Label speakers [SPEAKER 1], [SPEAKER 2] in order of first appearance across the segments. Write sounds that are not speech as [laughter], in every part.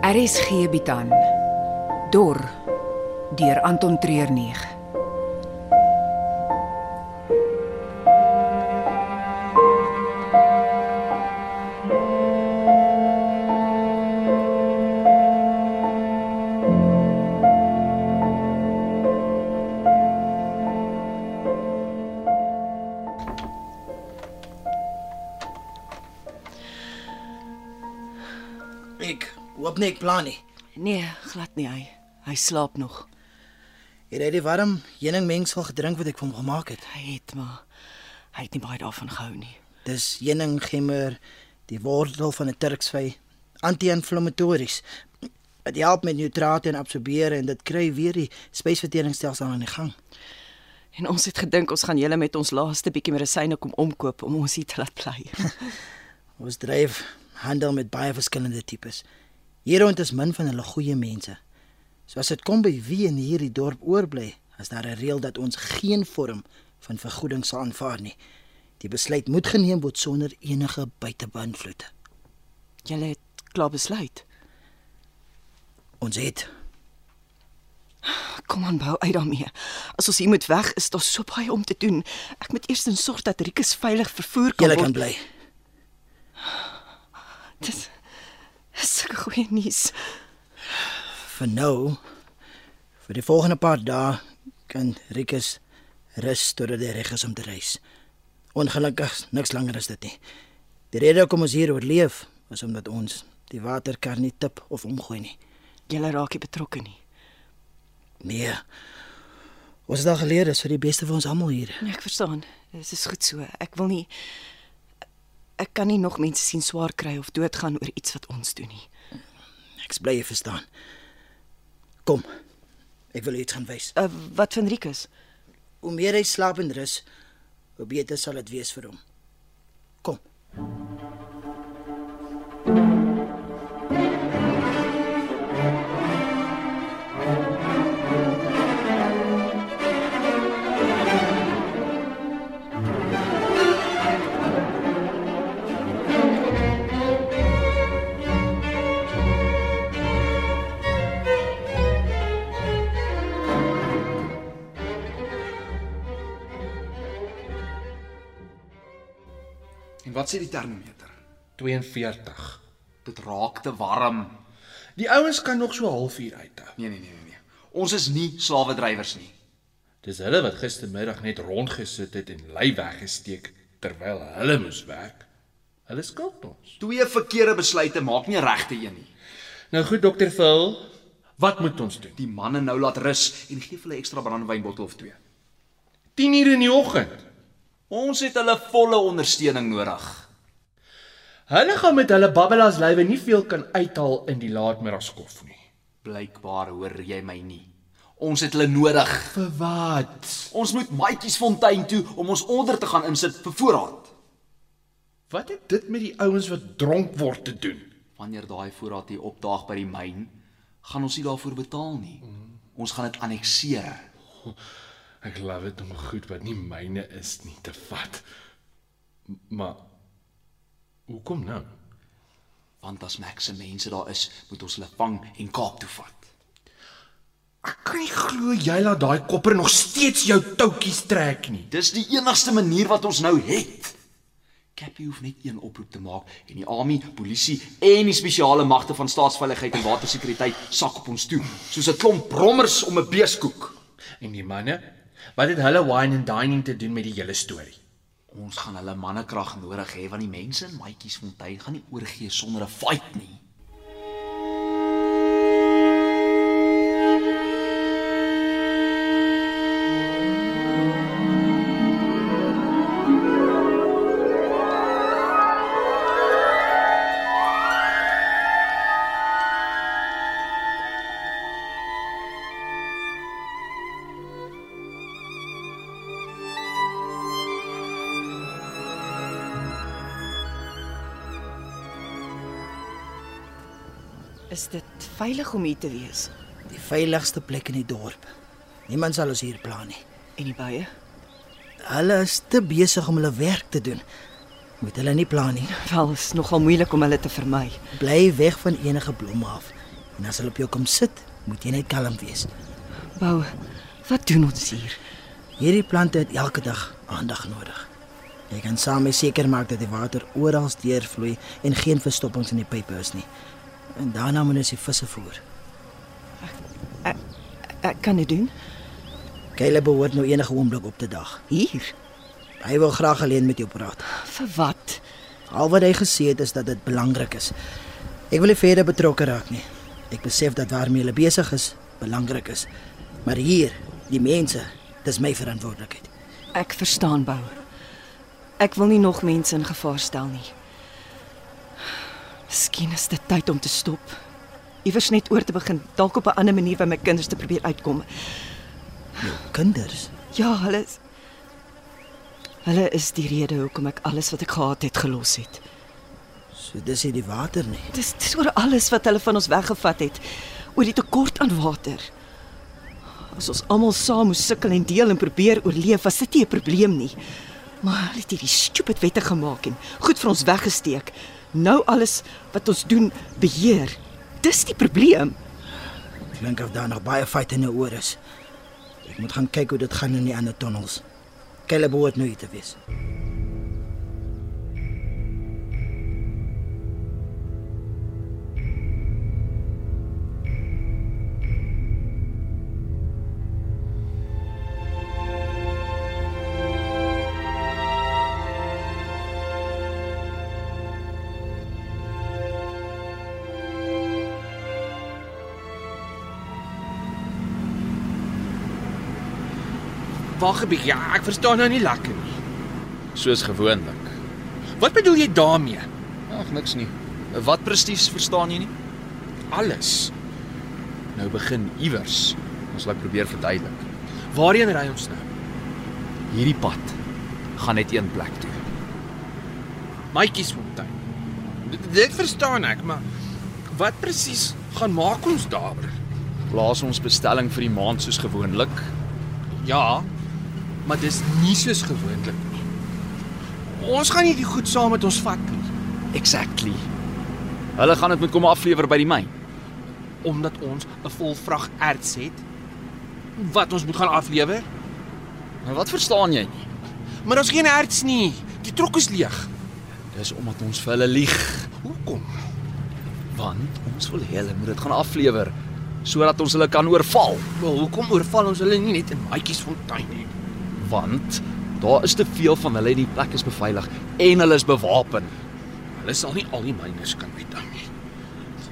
[SPEAKER 1] RSG bied aan Dor deur Anton Treurnig.
[SPEAKER 2] Ek hoop net ek plan nie.
[SPEAKER 3] Nee, glad nie hy. Hy slaap nog.
[SPEAKER 2] Hier het hy die warm heuningmengsel gedrink wat ek vir hom gemaak het.
[SPEAKER 3] Hy het maar hy het nie baie daarvan gehou nie.
[SPEAKER 2] Dis heuninggimmer, die wortel van 'n turksvy, anti-inflammatories. Dit help met nitrate en absorbeer en dit kry weer die spysverteringsstelsel aan die gang.
[SPEAKER 3] En ons het gedink ons gaan julle met ons laaste bietjie medisyne kom omkoop om ons hier te laat bly. [laughs]
[SPEAKER 2] Ons dryf handel met baie verskillende tipes. Hierond is min van hulle goeie mense. So as dit kom by wie in hierdie dorp oorbly, is daar 'n reël dat ons geen vorm van vergoeding sal aanvaar nie. Die besluit moet geneem word sonder enige buitebeïnvloede.
[SPEAKER 3] julle het klaar besluit.
[SPEAKER 2] Ons het
[SPEAKER 3] Kom aan, bou uit daarmee. As ons hier moet weg, is daar so baie om te doen. Ek moet eers sorg dat Rikus veilig vervoer kan
[SPEAKER 2] julle
[SPEAKER 3] word.
[SPEAKER 2] kan bly.
[SPEAKER 3] Dis dis sulke goeie nuus.
[SPEAKER 2] Vir nou vir die volgende paar dae kan Rikus rus totdat hy reg is om te reis. Ongelukkig niks langer as dit nie. Die rede hoekom ons hier oorleef is omdat ons die waterkar nie tip of omgooi nie.
[SPEAKER 3] Julle raak nie betrokke nie.
[SPEAKER 2] Nee. Ons het al geleer dis vir die beste vir ons almal hier.
[SPEAKER 3] Nee, ek verstaan. Dit is goed so. Ek wil nie ek kan nie nog mense sien swaar kry of doodgaan oor iets wat ons doen nie.
[SPEAKER 2] Ek is bly jy verstaan. Kom. Ek wil jou iets gaan wys.
[SPEAKER 3] Uh, wat van Rikus?
[SPEAKER 2] Hoe meer hy slaap en rus, hoe beter sal dit wees vir hom. Kom.
[SPEAKER 4] En wat sê die termometer?
[SPEAKER 5] 42.
[SPEAKER 4] Dit raak te warm.
[SPEAKER 5] Die ouens kan nog so 'n halfuur uithou.
[SPEAKER 4] Nee nee nee nee nee. Ons is nie slawe drywers nie.
[SPEAKER 5] Dis hulle wat gistermiddag net rondgesit het en lei weggesteek terwyl hulle moes werk. Hulle skuld ons.
[SPEAKER 4] Twee verkeerde besluite maak nie regte een nie.
[SPEAKER 5] Nou goed dokter Phil, wat moet ons doen?
[SPEAKER 4] Die manne nou laat rus en gee vir hulle ekstra brandewynbottel of twee.
[SPEAKER 5] 10:00 in die oggend.
[SPEAKER 4] Ons het hulle volle ondersteuning nodig.
[SPEAKER 5] Hulle gaan met hulle babbelas lywe nie veel kan uithaal in die laatmiddagskof nie.
[SPEAKER 4] Blykbaar hoor jy my nie. Ons het hulle nodig.
[SPEAKER 5] Vir wat?
[SPEAKER 4] Ons moet Maatjiesfontein toe om ons onder te gaan insit vir voorraad.
[SPEAKER 5] Wat het dit met die ouens wat dronk word te doen?
[SPEAKER 4] Wanneer daai voorraad hier opdaag by die myn, gaan ons nie daarvoor betaal nie. Ons gaan dit annexeer.
[SPEAKER 5] Ek love dit om goed wat nie myne is nie te vat. M- Maar hoekom nou?
[SPEAKER 4] Want as Max se mense daar is, moet ons hulle vang en Kaap toe vat.
[SPEAKER 5] Ek kan nie glo jy laat daai kopper nog steeds jou toutjies trek nie.
[SPEAKER 4] Dis die enigste manier wat ons nou het. Cappy hoef net een oproep te maak en die army, polisie en die spesiale magte van staatsveiligheid en watersekuriteit sak op ons toe, soos 'n klomp brommers om 'n beeskoek.
[SPEAKER 5] En die manne, wat het hulle wine and dining te doen met die hele storie?
[SPEAKER 4] Ons gaan hulle mannekrag nodig hê want die mense in Maatjiesfontein gaan nie oorgee sonder 'n fight nie.
[SPEAKER 3] Is dit veilig om hier te wees?
[SPEAKER 2] Die veiligigste plek in die dorp. Niemand sal ons hier pla nie.
[SPEAKER 3] En die bye?
[SPEAKER 2] Hulle is te besig om hulle werk te doen. Moet hulle nie pla nie.
[SPEAKER 3] Wel, is nogal moeilik om hulle te vermy.
[SPEAKER 2] Bly weg van enige blomme af. En as hulle op jou kom sit, moet jy net kalm wees.
[SPEAKER 3] Bou, wat doen ons hier?
[SPEAKER 2] Hierdie plante het elke dag aandag nodig. Jy kan saam seker maak dat die water oral deurvloei en geen verstoppings in die pype is nie. En daarna moet ons die visse voer.
[SPEAKER 3] Ek kan dit doen.
[SPEAKER 2] Kyle behoort nou enige oomblik op te dag.
[SPEAKER 3] Hier.
[SPEAKER 2] Hy wil graag alleen met jou praat.
[SPEAKER 3] Vir wat?
[SPEAKER 2] Al wat hy gesê het is dat dit belangrik is. Ek wil nie verder betrokke raak nie. Ek besef dat waarmee hulle besig is belangrik is. Maar hier, die mense, dis my verantwoordelikheid.
[SPEAKER 3] Ek verstaan, Bou. Ek wil nie nog mense in gevaar stel nie. Miskien is dit tyd om te stop. Iewers net oor te begin, dalk op 'n ander manier by my kinders te probeer uitkom.
[SPEAKER 2] Jou kinders.
[SPEAKER 3] Ja, hulle is Hulle is die rede hoekom ek alles wat ek gehad het gelos het.
[SPEAKER 2] So dis nie die water nie.
[SPEAKER 3] Dis dis oor alles wat hulle van ons weggevat het, oor die tekort aan water. As ons almal saam moes sukkel en deel en probeer oorleef, was dit nie 'n probleem nie. Maar hulle het hierdie stupid wette gemaak en goed vir ons weggesteek. Nou alles wat ons doen, beheer. Dis die probleem.
[SPEAKER 2] Klink of daar nog baie fight in jou oor is. Ek moet gaan kyk hoe dit gaan in die ander tonnels. Kyle behoort nou hier te wees.
[SPEAKER 5] Wag 'n bietjie, ja, ek verstaan nou nie lekker nie. Soos gewoonlik. Wat bedoel jy daarmee?
[SPEAKER 4] Ag, niks nie. Wat presies verstaan jy nie?
[SPEAKER 5] Alles. Nou begin iewers. Ons wil probeer verduidelik. Waarheen ry ons nou?
[SPEAKER 4] Hierdie pad gaan net een plek toe.
[SPEAKER 5] Maatjiesfontein. D- Dit verstaan ek, maar wat presies gaan maak ons daaroor?
[SPEAKER 4] Plaas ons bestelling vir die maand soos gewoonlik.
[SPEAKER 5] Ja, maar dis nie soos gewoonlik nie. Ons gaan nie die goed saam met ons vat nie,
[SPEAKER 4] Exactly. Hulle gaan dit moet kom aflewer by die myn.
[SPEAKER 5] omdat ons 'n vol vrag erts het wat ons moet gaan aflewer.
[SPEAKER 4] Nou wat verstaan jy nie?
[SPEAKER 5] Maar ons geen erts nie. Die trok is leeg.
[SPEAKER 4] Dis omdat ons vir hulle lieg,
[SPEAKER 5] Hoekom?
[SPEAKER 4] want ons wil hê hulle moet dit gaan aflewer sodat ons hulle kan oorval,
[SPEAKER 5] Wel, hoekom oorval ons hulle nie net in Maatjiesfontein nie?
[SPEAKER 4] want daar is te veel van hulle en die plek is beveilig en hulle is bewapen.
[SPEAKER 5] Hulle sal nie al die myners kan uitdang nie.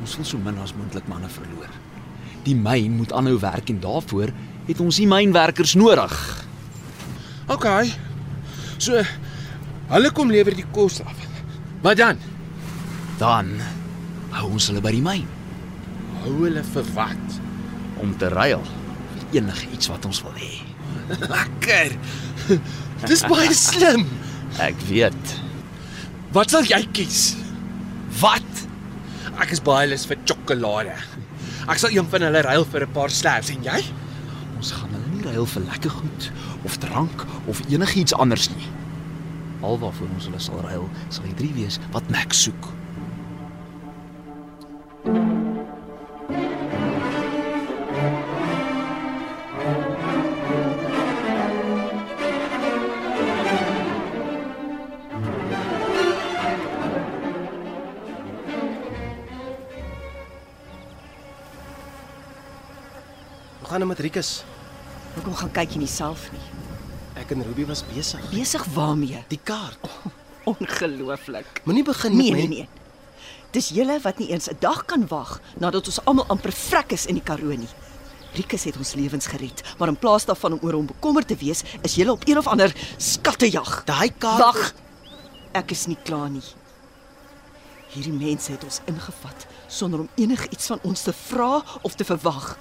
[SPEAKER 4] Ons wil so min as moontlik manne verloor. Die myn moet aanhou werk en daarvoor het ons die mynwerkers nodig.
[SPEAKER 5] OK. So hulle kom lewer die kos af. Maar dan
[SPEAKER 4] Dan hou ons hulle by die myn
[SPEAKER 5] hou hulle vir wat?
[SPEAKER 4] om te ruil vir enige iets wat ons wil hê.
[SPEAKER 5] Lekker. Dis baie slim.
[SPEAKER 4] Ek weet.
[SPEAKER 5] Wat sal jy kies?
[SPEAKER 4] Wat?
[SPEAKER 5] Ek is baie lus vir sjokolade. Ek sal een van hulle ruil vir 'n paar slabs en jy?
[SPEAKER 4] Ons gaan hulle nie ruil vir lekker goed of drank of enigiets anders nie. Alwaarvoor ons hulle sal ruil, sal die drie wees wat Max soek.
[SPEAKER 6] Hoe gaan dit met Rikus?
[SPEAKER 3] Hoekom gaan kyk jy nie self nie?
[SPEAKER 6] Ek en Ruby was besig.
[SPEAKER 3] Besig waarmee?
[SPEAKER 6] Die kaart. Oh,
[SPEAKER 3] Ongelooflik.
[SPEAKER 6] Moenie begin met
[SPEAKER 3] Nee,
[SPEAKER 6] my
[SPEAKER 3] nee, nee. Dis julle wat nie eens 'n dag kan wag nadat ons almal amper vrek is in die Karoo nie. Rikus het ons lewens gered, maar in plaas daarvan om oor hom bekommerd te wees, is julle op een of ander skattejag.
[SPEAKER 6] Daai kaart.
[SPEAKER 3] Wag. Ek is nie klaar nie. Hierdie mense het ons ingevat sonder om enigiets van ons te vra of te verwag.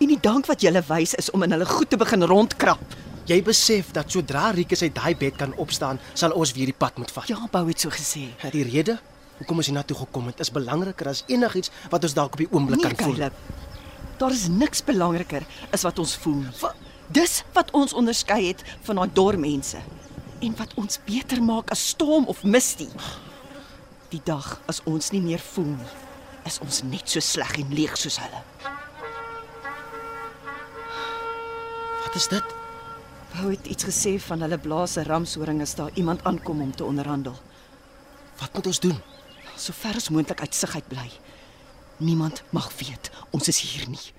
[SPEAKER 3] En die dank wat julle wys is om in hulle goed te begin rondkrap.
[SPEAKER 6] nee. Jy besef dat sodra Rikus uit daai bed kan opstaan, sal ons weer die pad moet vat.
[SPEAKER 3] Ja, Bou het so gesê.
[SPEAKER 6] Die rede hoekom ons hiernatoe gekom het, is belangriker as enigiets wat ons dalk op die oomblik
[SPEAKER 3] Nee,
[SPEAKER 6] kan voel.
[SPEAKER 3] Caleb. Daar is niks belangriker as wat ons voel. Va Dis wat ons onderskei het van daai dormense en wat ons beter maak as storm of mistie. Die dag as ons nie meer voel nie, is ons net so sleg en leeg soos hulle.
[SPEAKER 6] Wat is dit?
[SPEAKER 3] Wou het iets gesê van hulle blaas se ramshoring as daar iemand aankom om te onderhandel.
[SPEAKER 6] Wat moet ons doen?
[SPEAKER 3] So ver as moontlik uit sig uit bly. Niemand mag weet ons is hier nie.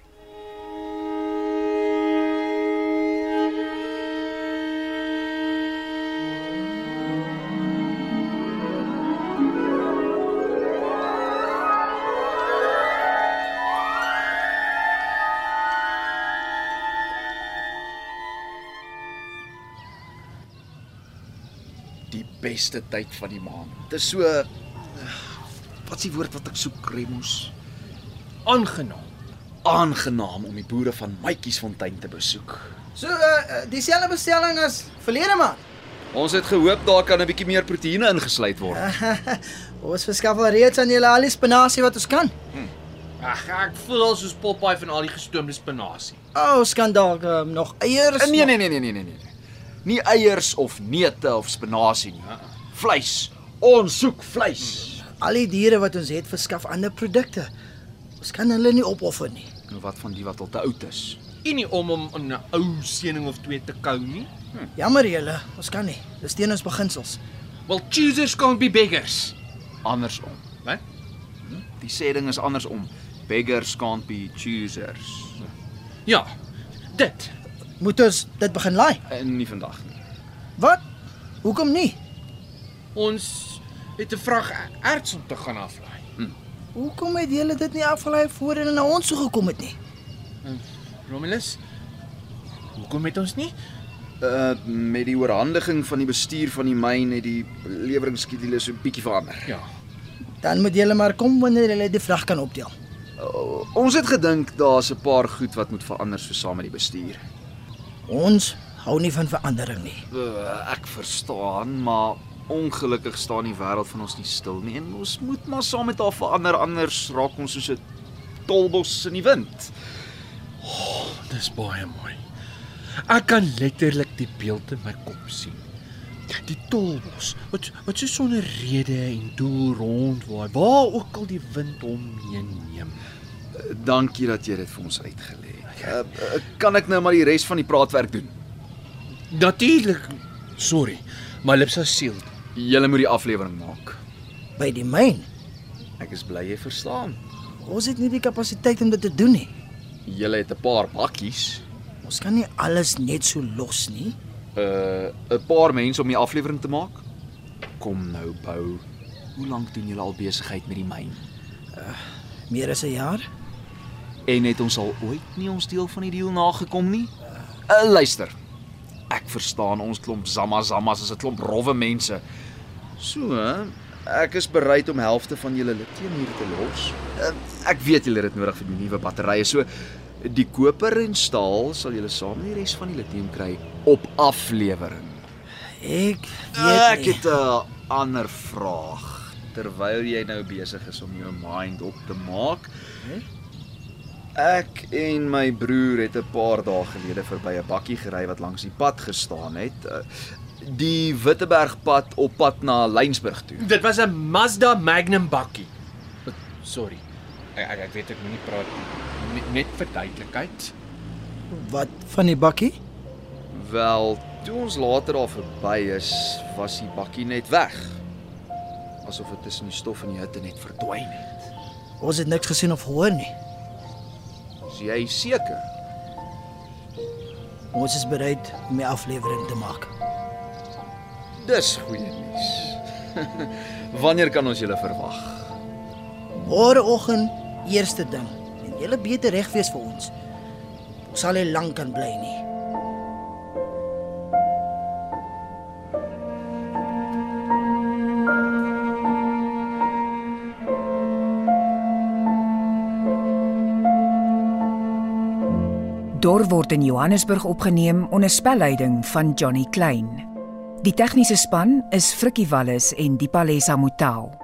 [SPEAKER 4] Die beste tyd van die maand. Dis so eh, Wat's die woord wat ek soek, Remus?
[SPEAKER 5] Aangenaam.
[SPEAKER 4] Aangenaam om die boere van Mytjiesfontein te besoek.
[SPEAKER 2] So uh, dieselfde bestelling as verlede maand.
[SPEAKER 4] Ons het gehoop daar kan 'n bietjie meer proteïene ingesluit word.
[SPEAKER 2] [laughs] Ons verskaf al reeds aan julle al die spinasie wat ons kan.
[SPEAKER 5] Ag, ek voel al soos Popeye van al die gestoomde spinasie.
[SPEAKER 2] O, oh, skandaal, um, nog eiers.
[SPEAKER 4] Eh, Nee nee nee nee nee nee nee. Nie eiers of neute of spinasie nie. Vleis. Ons soek vleis.
[SPEAKER 2] Al die diere wat ons het verskaf ander produkte. Ons kan hulle nie opoffer nie.
[SPEAKER 4] Nou wat van die wat al te oud is?
[SPEAKER 5] En nie om hom in 'n ou seëning of twee te kou nie.
[SPEAKER 2] Jammer julle, ons kan nie. Dis teen ons beginsels.
[SPEAKER 5] Well, choosers can't be beggars.
[SPEAKER 4] Andersom. Hm?
[SPEAKER 5] Wat?
[SPEAKER 4] Die sê ding is andersom. Beggars can't be choosers.
[SPEAKER 5] Ja. Dit.
[SPEAKER 2] Moet ons dit begin laai?
[SPEAKER 4] Eh, Nie vandag nie.
[SPEAKER 2] Wat? Hoekom nie?
[SPEAKER 5] Ons het 'n vrag erts om te gaan aflaai.
[SPEAKER 2] Hoekom het julle dit nie afgelei voor hulle na ons toe gekom het nie?
[SPEAKER 5] Romulus, hoekom het ons nie?
[SPEAKER 4] Uh met die oorhandiging van die bestuur van die myn het die leweringsskedule so 'n bietjie verander.
[SPEAKER 5] Ja.
[SPEAKER 2] Dan moet julle maar kom wanneer hulle die vrag kan optel.
[SPEAKER 4] Uh, ons het gedink daar's 'n paar goed wat moet verander so saam met die bestuur.
[SPEAKER 2] Ons hou nie van verandering nie.
[SPEAKER 4] Uh, ek verstaan, maar ongelukkig staan die wêreld van ons nie stil nie en ons moet maar saam met haar verander anders raak ons soos 'n tolbos in die wind.
[SPEAKER 5] Dis baie mooi. Ek kan letterlik die beeld in my kop sien. Die tolbos wat wat so sonder rede en doel rondwaai, waar ook al die wind hom heen neem.
[SPEAKER 4] Uh, dankie dat jy dit vir ons uitgelê het. Uh, uh, kan ek nou maar die res van die praatwerk doen?
[SPEAKER 5] Natuurlik. Sorry. My lips is seël.
[SPEAKER 4] Jy moet die aflewering maak.
[SPEAKER 2] By die myn,
[SPEAKER 4] Ek is bly jy verstaan.
[SPEAKER 2] ons het nie die kapasiteit om dit te doen nie.
[SPEAKER 4] Jy het 'n paar bakkies.
[SPEAKER 2] Ons kan nie alles net so los nie.
[SPEAKER 4] uh 'n paar mense om die aflewering te maak. Kom nou, Bou. Hoe lank doen julle al besigheid met die myn?
[SPEAKER 2] Meer as 'n jaar.
[SPEAKER 4] En het ons al ooit nie ons deel van die deal nagekom nie? Uh, luister. Ek verstaan ons klomp zamazamas is 'n klomp rowwe mense. So, hè, ek is bereid om helfte van julle lidteenoor te los. Uh, ek weet julle het dit nodig vir die nuwe batterye. So die koper en staal sal julle saam met die res van die litteum kry op aflewering.
[SPEAKER 2] Ek weet
[SPEAKER 4] Nou, Ek
[SPEAKER 2] nie.
[SPEAKER 4] het 'n ander vraag terwyl jy nou besig is om jou mind op te maak. Ek en my broer het 'n paar dae gelede verby 'n bakkie gery wat langs die pad gestaan het. Uh, Die Wittebergpad op pad na Lensburg toe.
[SPEAKER 5] Dit was 'n Mazda Magnum bakkie. Wat- Sorry. Ek ek, ek weet ek moenie praat nie. Net- Net vir duidelikheid.
[SPEAKER 2] Wat van die bakkie?
[SPEAKER 4] Wel, toe ons later daar verby is, was die bakkie net weg. Asof dit tussen die stof en die hitte net verdwyn het.
[SPEAKER 2] Ons het niks gesien of gehoor nie.
[SPEAKER 4] Is jy seker?
[SPEAKER 2] Ons is bereid om 'n aflewering te maak.
[SPEAKER 4] Dis goeie nuus. [laughs] Wanneer kan ons julle verwag?
[SPEAKER 2] Môreoggend, eerste ding. En jy moet beter reg wees vir ons. Ons sal nie lank kan bly nie.
[SPEAKER 7] Dor word in Johannesburg opgeneem onder spelleiding van Johnny Klein. Die tegniese span is Frikkie Wallis en Dipalesa Motelo.